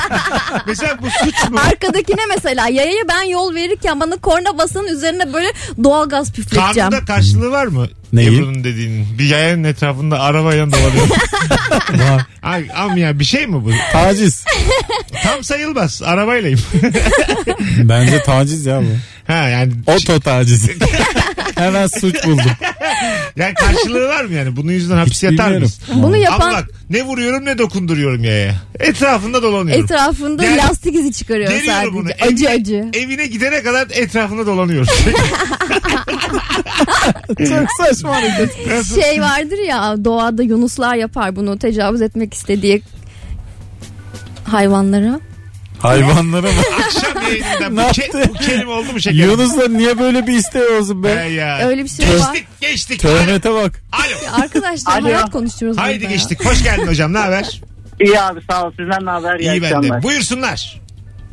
Speaker 2: Mesela bu suç mu?
Speaker 3: arkadakine mesela yayaya ben yol verirken bana korna basının üzerine böyle doğalgaz püfleteceğim.
Speaker 2: Kanunda karşılığı var mı?
Speaker 4: Neyin?
Speaker 2: Ebru'nun dediğinin. Bir yayanın etrafında arabayla dolanıyor.
Speaker 4: Vay.
Speaker 2: Ay, am ya bir şey mi bu?
Speaker 4: Taciz.
Speaker 2: Tam sayılmaz. Arabaylayım.
Speaker 4: Bence taciz ya bu.
Speaker 2: ha yani,
Speaker 4: Oto tacizi. Hemen suç buldum.
Speaker 2: yani karşılığı var mı yani? Bunun yüzünden hapis
Speaker 4: Hiç
Speaker 2: yatar
Speaker 4: bilmiyorum.
Speaker 2: mıyız?
Speaker 3: Bunu
Speaker 2: Ama
Speaker 3: yapan
Speaker 2: bak ne vuruyorum ne dokunduruyorum yaya. Etrafında dolanıyorum.
Speaker 3: etrafında
Speaker 2: Yani-
Speaker 3: lastik izi çıkarıyor
Speaker 2: Geliyorum bunu.
Speaker 3: sadece. Acı
Speaker 2: Evine-
Speaker 3: acı.
Speaker 2: Evine gidene kadar etrafında dolanıyoruz.
Speaker 4: Çok saçma hareket.
Speaker 2: Nasıl?
Speaker 3: Şey vardır ya doğada yunuslar yapar bunu tecavüz etmek istediği hayvanlara.
Speaker 4: Hayvanlara bak.
Speaker 2: Akşam yayınında bu,
Speaker 4: Ne
Speaker 2: ke-
Speaker 4: yaptı?
Speaker 2: bu kelime oldu mu şekerim?
Speaker 4: Yunus'la niye böyle bir isteği olsun
Speaker 2: He
Speaker 4: be?
Speaker 2: ya.
Speaker 3: Öyle bir şey var.
Speaker 2: Geçtik geçtik. Alo.
Speaker 4: Tövbete bak.
Speaker 2: Alo.
Speaker 3: Arkadaşlar
Speaker 7: Alo.
Speaker 3: hayat konuşuyoruz.
Speaker 2: Haydi
Speaker 3: burada.
Speaker 2: geçtik. Hoş geldin hocam. Ne haber?
Speaker 7: İyi abi sağ ol. Sizden ne haber? İyi,
Speaker 2: İyi ben
Speaker 7: akşamlar.
Speaker 2: de. Buyursunlar.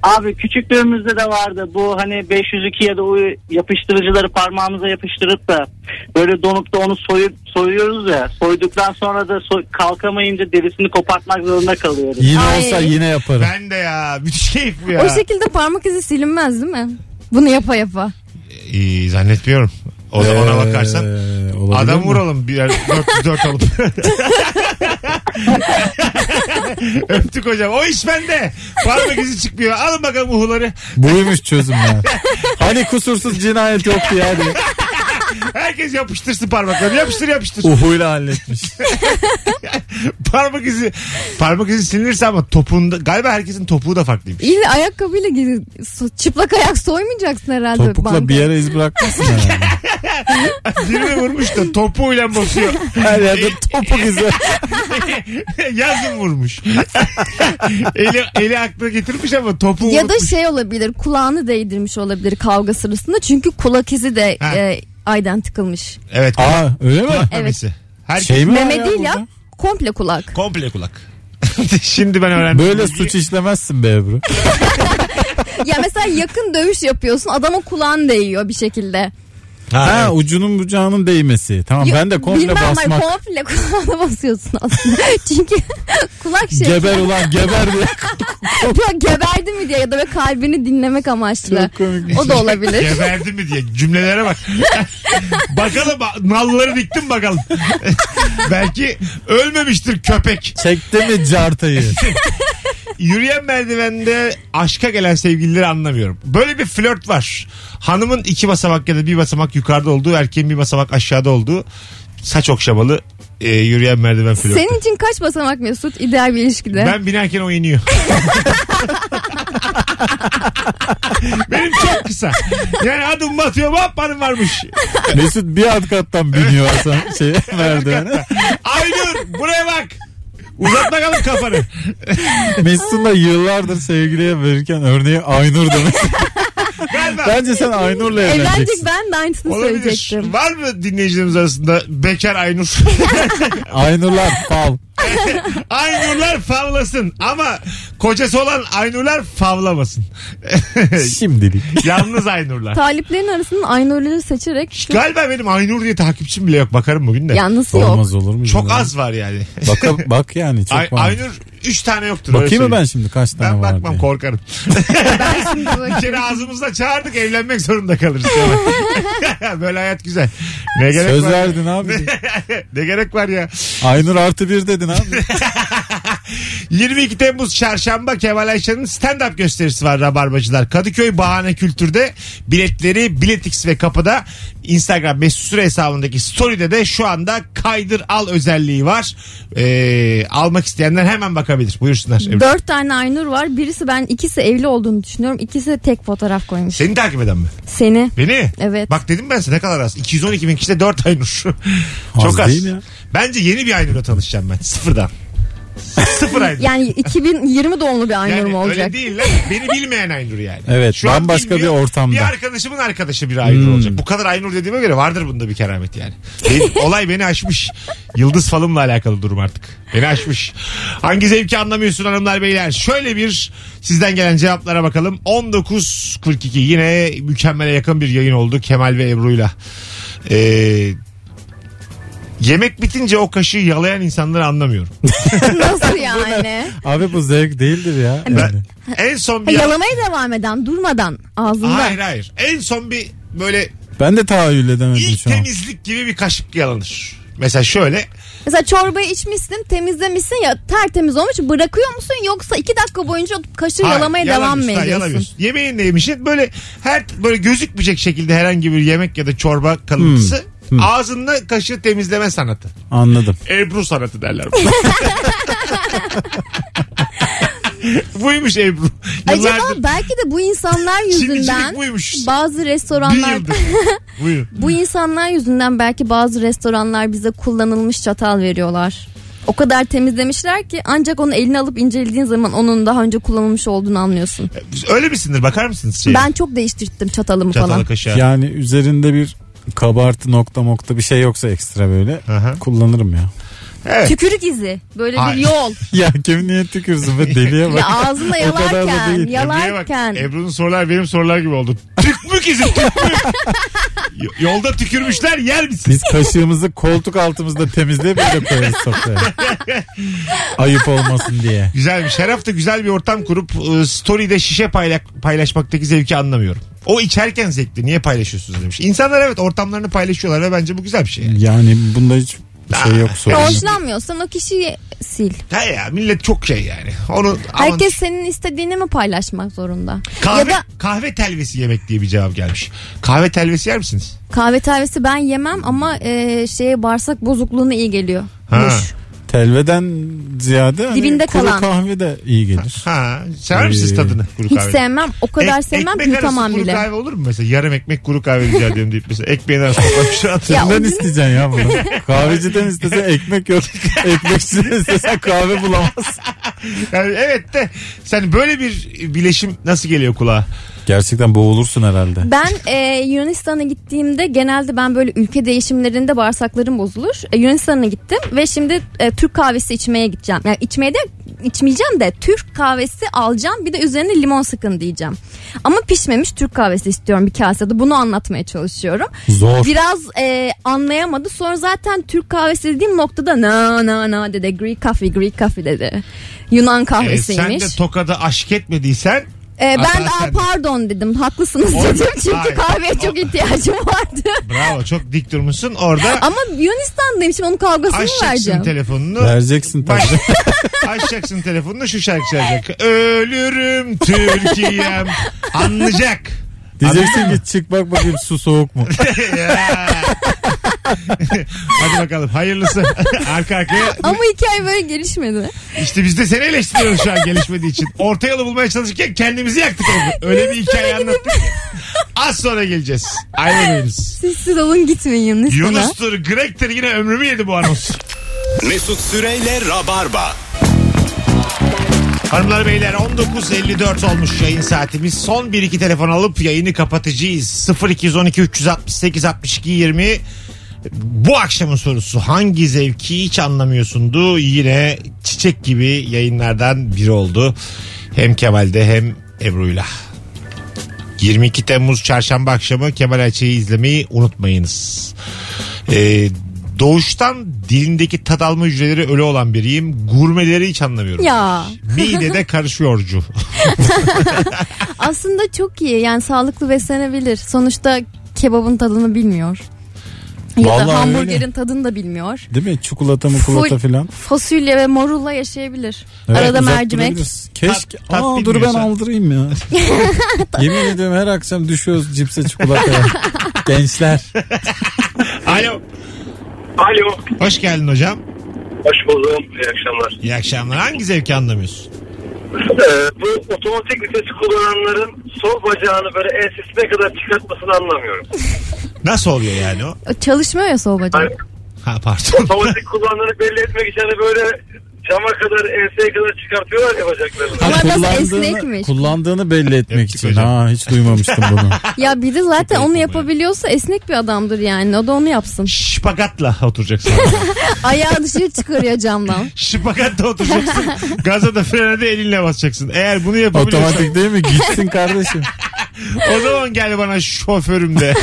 Speaker 7: Abi küçüklüğümüzde de vardı. Bu hani 502 ya da o yapıştırıcıları parmağımıza yapıştırıp da böyle donup da onu soyup soyuyoruz ya. Soyduktan sonra da soy- kalkamayınca derisini kopartmak zorunda kalıyoruz.
Speaker 4: Yine
Speaker 3: Ay.
Speaker 4: olsa yine yaparım.
Speaker 2: Ben de ya. Müthiş keyif bu ya.
Speaker 3: O şekilde parmak izi silinmez değil mi? Bunu yapa yapa.
Speaker 2: İyi, zannetmiyorum. O da ona
Speaker 4: Ee,
Speaker 2: bakarsan.
Speaker 4: olabilir
Speaker 2: Adam
Speaker 4: mi?
Speaker 2: vuralım birer 404 alıp. Öptük hocam. O iş bende. Parmak izi çıkmıyor. Alın bakalım uhuları.
Speaker 4: Buymuş çözüm ya. hani kusursuz cinayet yoktu ya diye.
Speaker 2: Herkes yapıştırsın parmaklarını. Yapıştır yapıştır.
Speaker 3: Oh.
Speaker 4: Uhuyla halletmiş.
Speaker 2: Parmak izi parmak izi silinirse ama topunda galiba herkesin topuğu da farklıymış.
Speaker 3: İyi de ayakkabıyla gezi- so- çıplak ayak soymayacaksın herhalde.
Speaker 4: Topukla
Speaker 3: banka.
Speaker 4: bir yere iz bırakmışsın herhalde.
Speaker 2: Birini vurmuş da topuğuyla basıyor.
Speaker 4: Her yerde topuk izi.
Speaker 2: Yazın vurmuş. eli, eli aklına getirmiş ama topuğu
Speaker 3: Ya da
Speaker 2: unutmuş.
Speaker 3: şey olabilir kulağını değdirmiş olabilir kavga sırasında. Çünkü kulak izi de
Speaker 2: Ha.
Speaker 3: e, aydan tıkılmış.
Speaker 2: Evet.
Speaker 4: Aa öyle mi?
Speaker 2: Kulak memesi. Herkes
Speaker 4: Şey mi var
Speaker 3: Meme
Speaker 4: ya
Speaker 3: değil
Speaker 4: burada?
Speaker 3: ya komple kulak.
Speaker 2: komple kulak. Şimdi ben öğrendim.
Speaker 4: Böyle suç işlemezsin be Ebru.
Speaker 3: ya mesela yakın dövüş yapıyorsun adamın kulağını değiyor bir şekilde.
Speaker 4: Ha, ucunun bucağının değmesi. Tamam
Speaker 3: Ya,
Speaker 4: ben de komple
Speaker 3: bilmem var,
Speaker 4: basmak.
Speaker 3: komple kulağına basıyorsun aslında. Çünkü kulak şey.
Speaker 4: Geber ulan geber diye.
Speaker 3: Yok, geberdi mi diye ya da böyle kalbini dinlemek amaçlı.
Speaker 4: Çok komik.
Speaker 3: O da olabilir.
Speaker 2: Geberdi mi diye cümlelere bak. bakalım nalları diktim bakalım. Belki ölmemiştir köpek.
Speaker 4: Çekti mi cartayı?
Speaker 2: Yürüyen merdivende aşka gelen sevgilileri anlamıyorum. Böyle bir flört var. Hanımın iki basamak ya da bir basamak yukarıda olduğu, erkeğin bir basamak aşağıda olduğu saç okşamalı e, yürüyen merdiven flörtü.
Speaker 3: Senin için kaç basamak Mesut ideal bir ilişkide?
Speaker 2: Ben binerken o iniyor. Benim çok kısa. Yani adım batıyor hop hanım varmış.
Speaker 4: Mesut bir alt kattan biniyor Hasan şey merdivene.
Speaker 2: Aynur buraya bak. Uzat bakalım kafanı.
Speaker 4: Mesut'un da yıllardır sevgiliye verirken örneği Aynur demek.
Speaker 2: Galiba.
Speaker 4: Bence sen Aynur'la
Speaker 3: Evlenecek
Speaker 4: evleneceksin.
Speaker 3: ben de aynısını
Speaker 2: Olabilir.
Speaker 3: söyleyecektim.
Speaker 2: Var mı dinleyicilerimiz arasında bekar Aynur?
Speaker 4: Aynurlar fal.
Speaker 2: Aynurlar favlasın ama kocası olan Aynurlar favlamasın.
Speaker 4: Şimdilik.
Speaker 2: Yalnız Aynurlar.
Speaker 3: Taliplerin arasından Aynur'ları seçerek
Speaker 2: Galiba benim Aynur diye takipçim bile yok bakarım bugün de.
Speaker 3: yalnız yok.
Speaker 4: Olmaz olur mu?
Speaker 2: Çok
Speaker 4: canım?
Speaker 2: az var yani.
Speaker 4: Bak, bak yani çok
Speaker 2: Ay-
Speaker 4: var.
Speaker 2: Aynur 3 tane yoktur. öyle
Speaker 4: Bakayım mı ben
Speaker 2: söyleyeyim.
Speaker 4: şimdi kaç tane
Speaker 2: Ben
Speaker 4: var
Speaker 2: bakmam
Speaker 4: diye.
Speaker 2: korkarım. Bir kere ağzımızda çağırdık evlenmek zorunda kalırız. Böyle hayat güzel. Ne gerek
Speaker 4: Söz
Speaker 2: var?
Speaker 4: verdin abi.
Speaker 2: Ne gerek var ya?
Speaker 4: Aynur artı bir dedin abi.
Speaker 2: 22 Temmuz Çarşamba Kemal Ayşe'nin stand-up gösterisi var Rabarbacılar. Kadıköy Bahane Kültür'de biletleri Biletix ve kapıda Instagram Mesut Süre hesabındaki story'de de şu anda kaydır al özelliği var. Ee, almak isteyenler hemen bakabilir. Buyursunlar. Ebru.
Speaker 3: Dört tane Aynur var. Birisi ben ikisi evli olduğunu düşünüyorum. İkisi de tek fotoğraf koymuş.
Speaker 2: Seni takip eden mi?
Speaker 3: Seni.
Speaker 2: Beni?
Speaker 3: Evet.
Speaker 2: Bak dedim ben size ne kadar az. 212 bin kişide 4 Aynur.
Speaker 4: Az
Speaker 2: Çok az.
Speaker 4: değil ya.
Speaker 2: Bence yeni bir Aynur'la tanışacağım ben. Sıfırdan. Sıfır Aynur.
Speaker 3: Yani 2020 doğumlu bir Aynur'um
Speaker 2: Yani
Speaker 3: olacak.
Speaker 2: öyle değil lan. Beni bilmeyen Aynur yani.
Speaker 4: Evet,
Speaker 2: an
Speaker 4: bambaşka
Speaker 2: bilmiyor.
Speaker 4: bir ortamda. Hmm.
Speaker 2: Bir arkadaşımın arkadaşı bir Aynur olacak. Bu kadar Aynur dediğime göre vardır bunda bir keramet yani. Benim- olay beni aşmış. Yıldız falımla alakalı durum artık. Beni aşmış. Hangi zevki anlamıyorsun hanımlar beyler? Şöyle bir sizden gelen cevaplara bakalım. 19.42 yine mükemmele yakın bir yayın oldu Kemal ve Ebru'yla. Ee, yemek bitince o kaşığı yalayan insanları anlamıyorum.
Speaker 3: Nasıl yani?
Speaker 4: Abi bu zevk değildir ya. Yani.
Speaker 2: Ben en son
Speaker 3: Ha,
Speaker 2: bir...
Speaker 3: Yalamaya devam eden durmadan ağzında.
Speaker 2: Hayır hayır. En son bir böyle
Speaker 4: Ben de tahayyül edemedim
Speaker 2: İlk
Speaker 4: şu an.
Speaker 2: temizlik gibi bir kaşık yalanır. Mesela şöyle
Speaker 3: Mesela çorbayı içmişsin temizlemişsin ya tertemiz olmuş bırakıyor musun yoksa iki dakika boyunca kaşığı
Speaker 2: Hayır,
Speaker 3: yalamaya devam mı
Speaker 2: yalamıyorsun, hayır,
Speaker 3: ediyorsun?
Speaker 2: yalamıyorsun. Yemeğini de yemişsin. Böyle her böyle gözükmeyecek şekilde herhangi bir yemek ya da çorba kalıntısı
Speaker 4: Hmm,
Speaker 2: ağzında kaşığı temizleme sanatı.
Speaker 4: Anladım.
Speaker 2: Ebru sanatı derler buna. buymuş Ebru. Yıllardır
Speaker 3: Acaba belki de bu insanlar yüzünden
Speaker 2: Çiftçilik buymuş.
Speaker 3: bazı
Speaker 2: bir
Speaker 3: restoranlar
Speaker 2: yıldır. Buyurun.
Speaker 3: bu insanlar yüzünden belki bazı restoranlar bize kullanılmış çatal veriyorlar. O kadar temizlemişler ki ancak onu eline alıp incelediğin zaman onun daha önce kullanılmış olduğunu anlıyorsun.
Speaker 2: Öyle misindir? Bakar mısınız? Şeye?
Speaker 3: Ben çok değiştirttim çatalımı
Speaker 2: Çatala
Speaker 3: falan.
Speaker 2: kaşığa.
Speaker 4: Yani üzerinde bir kabartı nokta nokta bir şey yoksa ekstra böyle
Speaker 2: Aha.
Speaker 4: kullanırım ya.
Speaker 2: Evet.
Speaker 3: Tükürük izi. Böyle
Speaker 2: Hayır.
Speaker 3: bir yol.
Speaker 4: ya kim niye tükürsün be deliye
Speaker 3: Ya
Speaker 4: bak.
Speaker 3: ağzında
Speaker 4: O kadar da
Speaker 3: yalarken,
Speaker 4: değil.
Speaker 2: Ebru'ya bak.
Speaker 3: yalarken.
Speaker 2: Ebru'nun sorular benim sorular gibi oldu. Tükmük izi tükmük. Y- Yolda tükürmüşler yer misin?
Speaker 4: Biz kaşığımızı koltuk altımızda temizleyip öyle koyarız sofraya. Ayıp olmasın diye.
Speaker 2: Güzelmiş. Şeraf da güzel bir ortam kurup e, story'de şişe payla- paylaşmaktaki zevki anlamıyorum. O içerken zevkli. Niye paylaşıyorsunuz demiş. İnsanlar evet ortamlarını paylaşıyorlar ve bence bu güzel bir şey. yani.
Speaker 4: Yani bunda hiç şey yok
Speaker 3: Ya
Speaker 4: sorun.
Speaker 3: Hoşlanmıyorsan o kişiyi sil.
Speaker 2: Ha ya millet çok şey yani. Onu aman-
Speaker 3: Herkes senin istediğini mi paylaşmak zorunda?
Speaker 2: kahve,
Speaker 3: Ya da
Speaker 2: kahve telvesi yemek diye bir cevap gelmiş. Kahve telvesi yer misiniz?
Speaker 3: kahve telvesi ben yemem ama e, şeye bağırsak bozukluğuna iyi geliyor.
Speaker 2: Ha.
Speaker 3: Muş.
Speaker 4: Telveden ziyade hani
Speaker 3: Dibinde
Speaker 4: kuru
Speaker 3: kalan.
Speaker 4: kahve de iyi gelir.
Speaker 2: Ha, sever
Speaker 4: Ee,
Speaker 2: misiniz tadını kuru
Speaker 3: Hiç
Speaker 2: kahvenin?
Speaker 3: sevmem. O kadar
Speaker 2: Ek-
Speaker 3: sevmem
Speaker 2: ekmek arası
Speaker 3: yutamam
Speaker 2: kuru
Speaker 3: bile.
Speaker 2: kahve olur mu mesela? Yarım ekmek kuru kahve rica ediyorum deyip mesela ekmeğin arasına koymuş atıyor.
Speaker 3: Ya o
Speaker 4: Kimden
Speaker 3: gün-
Speaker 4: isteyeceksin ya bunu? Kahveciden istese ekmek yok. Ekmekçiden istesen kahve bulamazsın.
Speaker 2: Yani evet de sen böyle bir bileşim nasıl geliyor kulağa?
Speaker 4: Gerçekten boğulursun herhalde.
Speaker 3: Ben e, Yunanistan'a gittiğimde genelde ben böyle ülke değişimlerinde bağırsaklarım bozulur. E, Yunanistan'a gittim ve şimdi e, Türk kahvesi içmeye gideceğim. Yani içmeye de içmeyeceğim de Türk kahvesi alacağım bir de üzerine limon sıkın diyeceğim. Ama pişmemiş Türk kahvesi istiyorum bir kasede. Bunu anlatmaya çalışıyorum.
Speaker 4: Zor.
Speaker 3: Biraz e, anlayamadı. Sonra zaten Türk kahvesi dediğim noktada na na na dedi. Greek coffee, Greek coffee dedi. Yunan
Speaker 2: Ee, sen
Speaker 3: kahvesiymiş.
Speaker 2: de tokada aşk etmediysen
Speaker 3: Ee, ben
Speaker 2: Hatta
Speaker 3: aa,
Speaker 2: sen-
Speaker 3: pardon dedim. Haklısınız
Speaker 2: Orada-
Speaker 3: dedim. Çünkü
Speaker 2: Hayır.
Speaker 3: kahveye çok ihtiyacım vardı.
Speaker 2: bravo çok dik durmuşsun orada
Speaker 3: Ama Yunanistan'dayım şimdi onun kavgasını mı
Speaker 2: açacaksın
Speaker 3: vereceğim.
Speaker 2: telefonunu.
Speaker 4: Vereceksin tabii.
Speaker 2: Açacaksın telefonunu şu şarkı çalacak. Ölürüm Türkiye'm. Anlayacak.
Speaker 4: Diyeceksin ki çık bak bakayım su soğuk mu?
Speaker 2: Ya. Hadi bakalım hayırlısı. Arka arkaya
Speaker 3: Ama hikaye böyle gelişmedi.
Speaker 2: İşte biz de seni eleştiriyoruz şu an gelişmediği için. Orta yolu bulmaya çalışırken kendimizi yaktık orada. Öyle bir hikaye anlattık ki. Az sonra geleceğiz. Ayrılmayınız.
Speaker 3: Sessiz olun gitmeyin Yunanistan'a.
Speaker 2: Yunus'tur, Greg'tir yine ömrümü yedi bu anons.
Speaker 1: Mesut Süreyle Rabarba.
Speaker 2: Hanımlar beyler 19.54 olmuş yayın saatimiz. Son 1-2 telefon alıp yayını kapatacağız. 0212 368 62 20 bu akşamın sorusu hangi zevki hiç anlamıyorsundu yine çiçek gibi yayınlardan biri oldu. Hem Kemal'de hem Ebru'yla. 22 Temmuz çarşamba akşamı Kemal Ayça'yı izlemeyi unutmayınız. Ee, doğuştan dilindeki tat alma hücreleri ölü olan biriyim. Gurmeleri hiç anlamıyorum.
Speaker 3: Ya
Speaker 2: Midede karışıyorcu.
Speaker 3: aslında çok iyi yani sağlıklı beslenebilir. Sonuçta kebabın tadını bilmiyor. Ya
Speaker 4: Vallahi
Speaker 3: da hamburgerin
Speaker 4: öyle.
Speaker 3: tadını da bilmiyor.
Speaker 4: Değil mi? Çikolata mı kulata
Speaker 3: Full.
Speaker 4: filan.
Speaker 3: Fasulye ve morula yaşayabilir.
Speaker 4: Evet,
Speaker 3: Arada
Speaker 4: uzak
Speaker 3: mercimek.
Speaker 4: durabiliriz. Keşke.
Speaker 2: Tat- tat
Speaker 4: Aa, dur ben
Speaker 2: bilmiyorsan.
Speaker 4: aldırayım ya. Yemin ediyorum her akşam düşüyoruz cipse çikolataya. Gençler.
Speaker 2: Alo.
Speaker 6: Alo.
Speaker 2: Hoş geldin hocam.
Speaker 6: Hoş buldum. İyi akşamlar.
Speaker 2: İyi akşamlar. Hangi zevki anlamıyorsun?
Speaker 6: Ee, bu otomatik vitesi kullananların sol bacağını böyle ensesine kadar çıkartmasını anlamıyorum.
Speaker 2: Nasıl oluyor yani o?
Speaker 3: Çalışmıyor ya soğuk bacak.
Speaker 6: Hayır.
Speaker 2: Ha pardon.
Speaker 6: Otomatik kullananı belli etmek için hani böyle cama kadar enseye kadar çıkartıyorlar ya bacaklarını.
Speaker 3: Ama biraz
Speaker 4: Kullandığını-
Speaker 3: esnekmiş.
Speaker 4: Kullandığını belli etmek
Speaker 2: Öptük
Speaker 4: için.
Speaker 2: hocam.
Speaker 4: Ha hiç duymamıştım bunu.
Speaker 3: Ya biri zaten onu
Speaker 2: yapma ya.
Speaker 3: yapabiliyorsa esnek bir adamdır yani. O da onu yapsın.
Speaker 2: Şpakatla oturacaksın.
Speaker 3: Ayağı dışarı çıkarıyor camdan.
Speaker 2: Şpakatla oturacaksın. Gaza da frene de elinle basacaksın. Eğer bunu yapabiliyorsan
Speaker 4: Otomatik değil mi? Gitsin kardeşim.
Speaker 2: o zaman gel bana şoförüm de.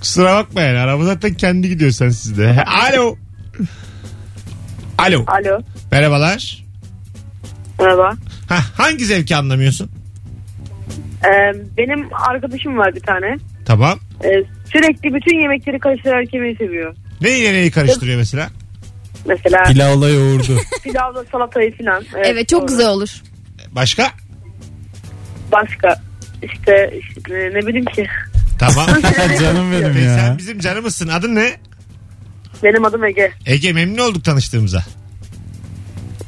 Speaker 2: Kusura bakma yani. Araba zaten kendi gidiyor sensiz de. Alo. Alo.
Speaker 9: Alo.
Speaker 2: Merhabalar.
Speaker 9: Merhaba.
Speaker 2: Ha, hangi zevki anlamıyorsun?
Speaker 9: Ee, benim arkadaşım var bir tane.
Speaker 2: Tamam.
Speaker 9: Ee, sürekli bütün yemekleri karıştırarak yemeyi seviyor.
Speaker 2: Neyle neyi karıştırıyor mesela?
Speaker 9: Mesela
Speaker 4: Pilavla yoğurdu.
Speaker 9: pilavla salatayı Ee, falan.
Speaker 3: Evet, çok
Speaker 9: doğru.
Speaker 3: güzel olur.
Speaker 2: Başka?
Speaker 9: Başka işte, işte ne bileyim ki.
Speaker 2: Tamam.
Speaker 4: Canım benim
Speaker 2: Ve
Speaker 4: ya.
Speaker 2: sen bizim canımızsın. Adın ne?
Speaker 9: Benim adım Ege.
Speaker 2: Ege memnun olduk tanıştığımıza.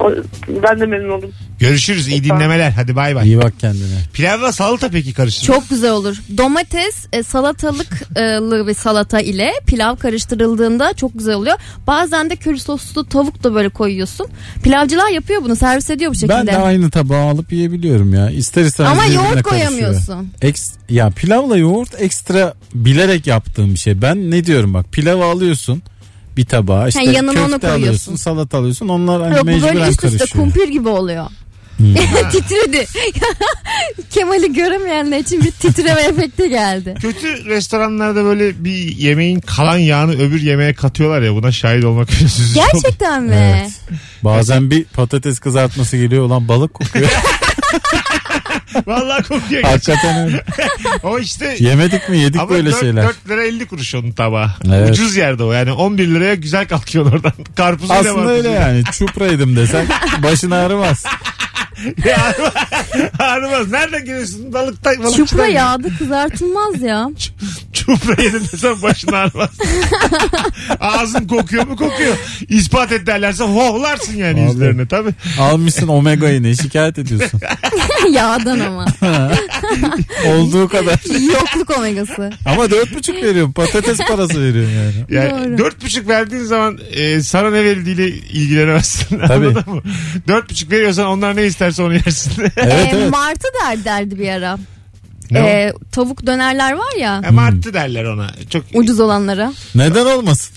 Speaker 9: O, ben de memnun oldum.
Speaker 2: Görüşürüz. iyi dinlemeler. Hadi bay bay.
Speaker 4: İyi bak kendine.
Speaker 2: Pilavla salata peki karıştırıyor.
Speaker 3: Çok güzel olur. Domates, e, salatalıklı bir salata ile pilav karıştırıldığında çok güzel oluyor. Bazen de köri soslu tavuk da böyle koyuyorsun. Pilavcılar yapıyor bunu, servis ediyor bu şekilde.
Speaker 4: Ben de aynı tabağı alıp yiyebiliyorum ya. İster istemez
Speaker 3: Ama
Speaker 4: birbirine
Speaker 3: yoğurt
Speaker 4: karışıyor.
Speaker 3: koyamıyorsun.
Speaker 4: Eks, ya pilavla yoğurt ekstra bilerek yaptığım bir şey. Ben ne diyorum bak pilavı alıyorsun bir tabağa işte
Speaker 3: yanına onu
Speaker 4: köfte
Speaker 3: koyuyorsun.
Speaker 4: alıyorsun salata alıyorsun onlar hani
Speaker 3: Yok bu
Speaker 4: mecburen Hmm.
Speaker 3: böyle üst üste
Speaker 4: karışıyor.
Speaker 3: kumpir gibi oluyor. Titredi. Kemal'i göremeyenler için bir titreme efekti geldi.
Speaker 2: Kötü restoranlarda böyle bir yemeğin kalan yağını öbür yemeğe katıyorlar ya buna şahit olmak üzücü.
Speaker 3: Gerçekten mi?
Speaker 4: Evet. Bazen bir patates kızartması geliyor olan balık kokuyor.
Speaker 2: Vallahi kokuyor. gerçekten.
Speaker 4: Hakikaten öyle.
Speaker 2: o işte
Speaker 4: Yemedik mi yedik
Speaker 2: ama
Speaker 4: böyle
Speaker 2: 4,
Speaker 4: şeyler.
Speaker 2: 4 lira 50 kuruş onun tabağı.
Speaker 4: Evet.
Speaker 2: Ucuz yerde o yani 11 liraya güzel kalkıyor oradan. Karpuzuyla
Speaker 4: Aslında öyle yani çupraydım desen başın ağrımaz.
Speaker 2: Ağrımaz. Nereden geliyorsun? Balıktan. balıkçıdan
Speaker 3: Çupra
Speaker 2: geliyorsun.
Speaker 3: yağda kızartılmaz ya.
Speaker 2: Çupra yedin desem başın ağrımaz. Ağzın kokuyor mu? Kokuyor. İspat et derlerse hohlarsın yani
Speaker 4: Vallahi.
Speaker 2: yüzlerine tabii.
Speaker 4: Almışsın omega iğneyi şikayet ediyorsun.
Speaker 3: Yağdan ama.
Speaker 4: Olduğu kadar.
Speaker 3: Yokluk omegası.
Speaker 4: Ama dört buçuk veriyorum patates parası veriyorum yani.
Speaker 2: Yani
Speaker 3: Doğru.
Speaker 2: dört buçuk verdiğin zaman e, sana ne verildiğiyle ilgilenemezsin.
Speaker 4: Tabii.
Speaker 2: Anladın mı? Dört buçuk veriyorsan onlar ne isterse onu yersin.
Speaker 4: Evet
Speaker 3: Ee,
Speaker 4: evet.
Speaker 3: Martı der derdi bir ara.
Speaker 2: ne o?
Speaker 3: Ee, tavuk dönerler var ya.
Speaker 2: Ha, E, Martı derler ona. Çok
Speaker 3: Ucuz olanlara.
Speaker 4: Neden olmasın?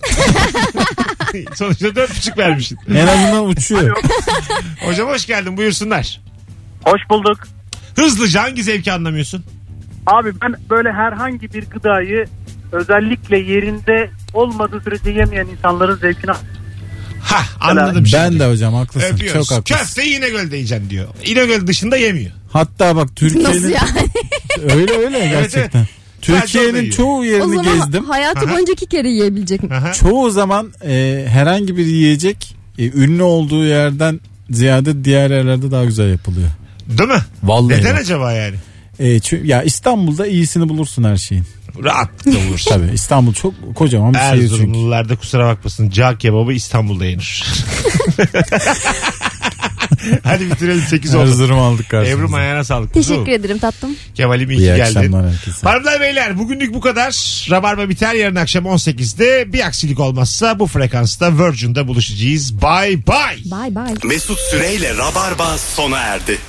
Speaker 2: sonuçta dört buçuk vermişsin.
Speaker 4: En azından uçuyor.
Speaker 2: Hocam hoş geldin buyursunlar.
Speaker 7: Hoş bulduk.
Speaker 2: Hızlıca hangi zevki anlamıyorsun?
Speaker 7: Abi ben böyle herhangi bir gıdayı özellikle yerinde olmadığı sürece yemeyen insanların zevkine
Speaker 2: Ha anladım şimdi.
Speaker 4: ben de hocam haklısın.
Speaker 2: Öpüyoruz.
Speaker 4: Çok haklısın.
Speaker 2: Köfteyi İnegöl'de yiyeceksin diyor. İnegöl dışında yemiyor.
Speaker 4: Hatta bak
Speaker 3: Nasıl
Speaker 4: Türkiye'nin
Speaker 3: yani?
Speaker 4: öyle öyle gerçekten.
Speaker 2: Sadece
Speaker 4: Türkiye'nin
Speaker 2: onu
Speaker 4: çoğu
Speaker 3: o
Speaker 4: yerini
Speaker 3: zaman
Speaker 4: gezdim.
Speaker 3: hayatı
Speaker 2: Aha.
Speaker 3: boyunca iki kere yiyebilecek mi?
Speaker 2: Aha.
Speaker 4: Çoğu zaman e, herhangi bir yiyecek e, ünlü olduğu yerden ziyade diğer yerlerde daha güzel yapılıyor.
Speaker 2: Değil mi?
Speaker 4: Vallahi.
Speaker 2: Neden
Speaker 4: bak.
Speaker 2: acaba yani?
Speaker 4: E, çünkü, ya İstanbul'da iyisini bulursun her şeyin.
Speaker 2: Rahat da bulursun.
Speaker 4: Tabii İstanbul çok kocaman bir şehir şey çünkü.
Speaker 2: Erzurumlularda kusura bakmasın. Cağ kebabı İstanbul'da yenir. Hadi bitirelim 8 oldu.
Speaker 4: Erzurum aldık karşımıza.
Speaker 2: Ebru ayağına sağlık. Kuzum.
Speaker 3: Teşekkür ederim tatlım.
Speaker 2: Kemal'im iyi ki
Speaker 4: İyi
Speaker 2: geldin.
Speaker 4: akşamlar herkese.
Speaker 2: Hanımlar beyler bugünlük bu kadar. Rabarba biter yarın akşam 18'de bir aksilik olmazsa bu frekansta Virgin'de buluşacağız. Bye bye.
Speaker 3: Bye bye.
Speaker 1: Mesut Süreyle Rabarba sona erdi.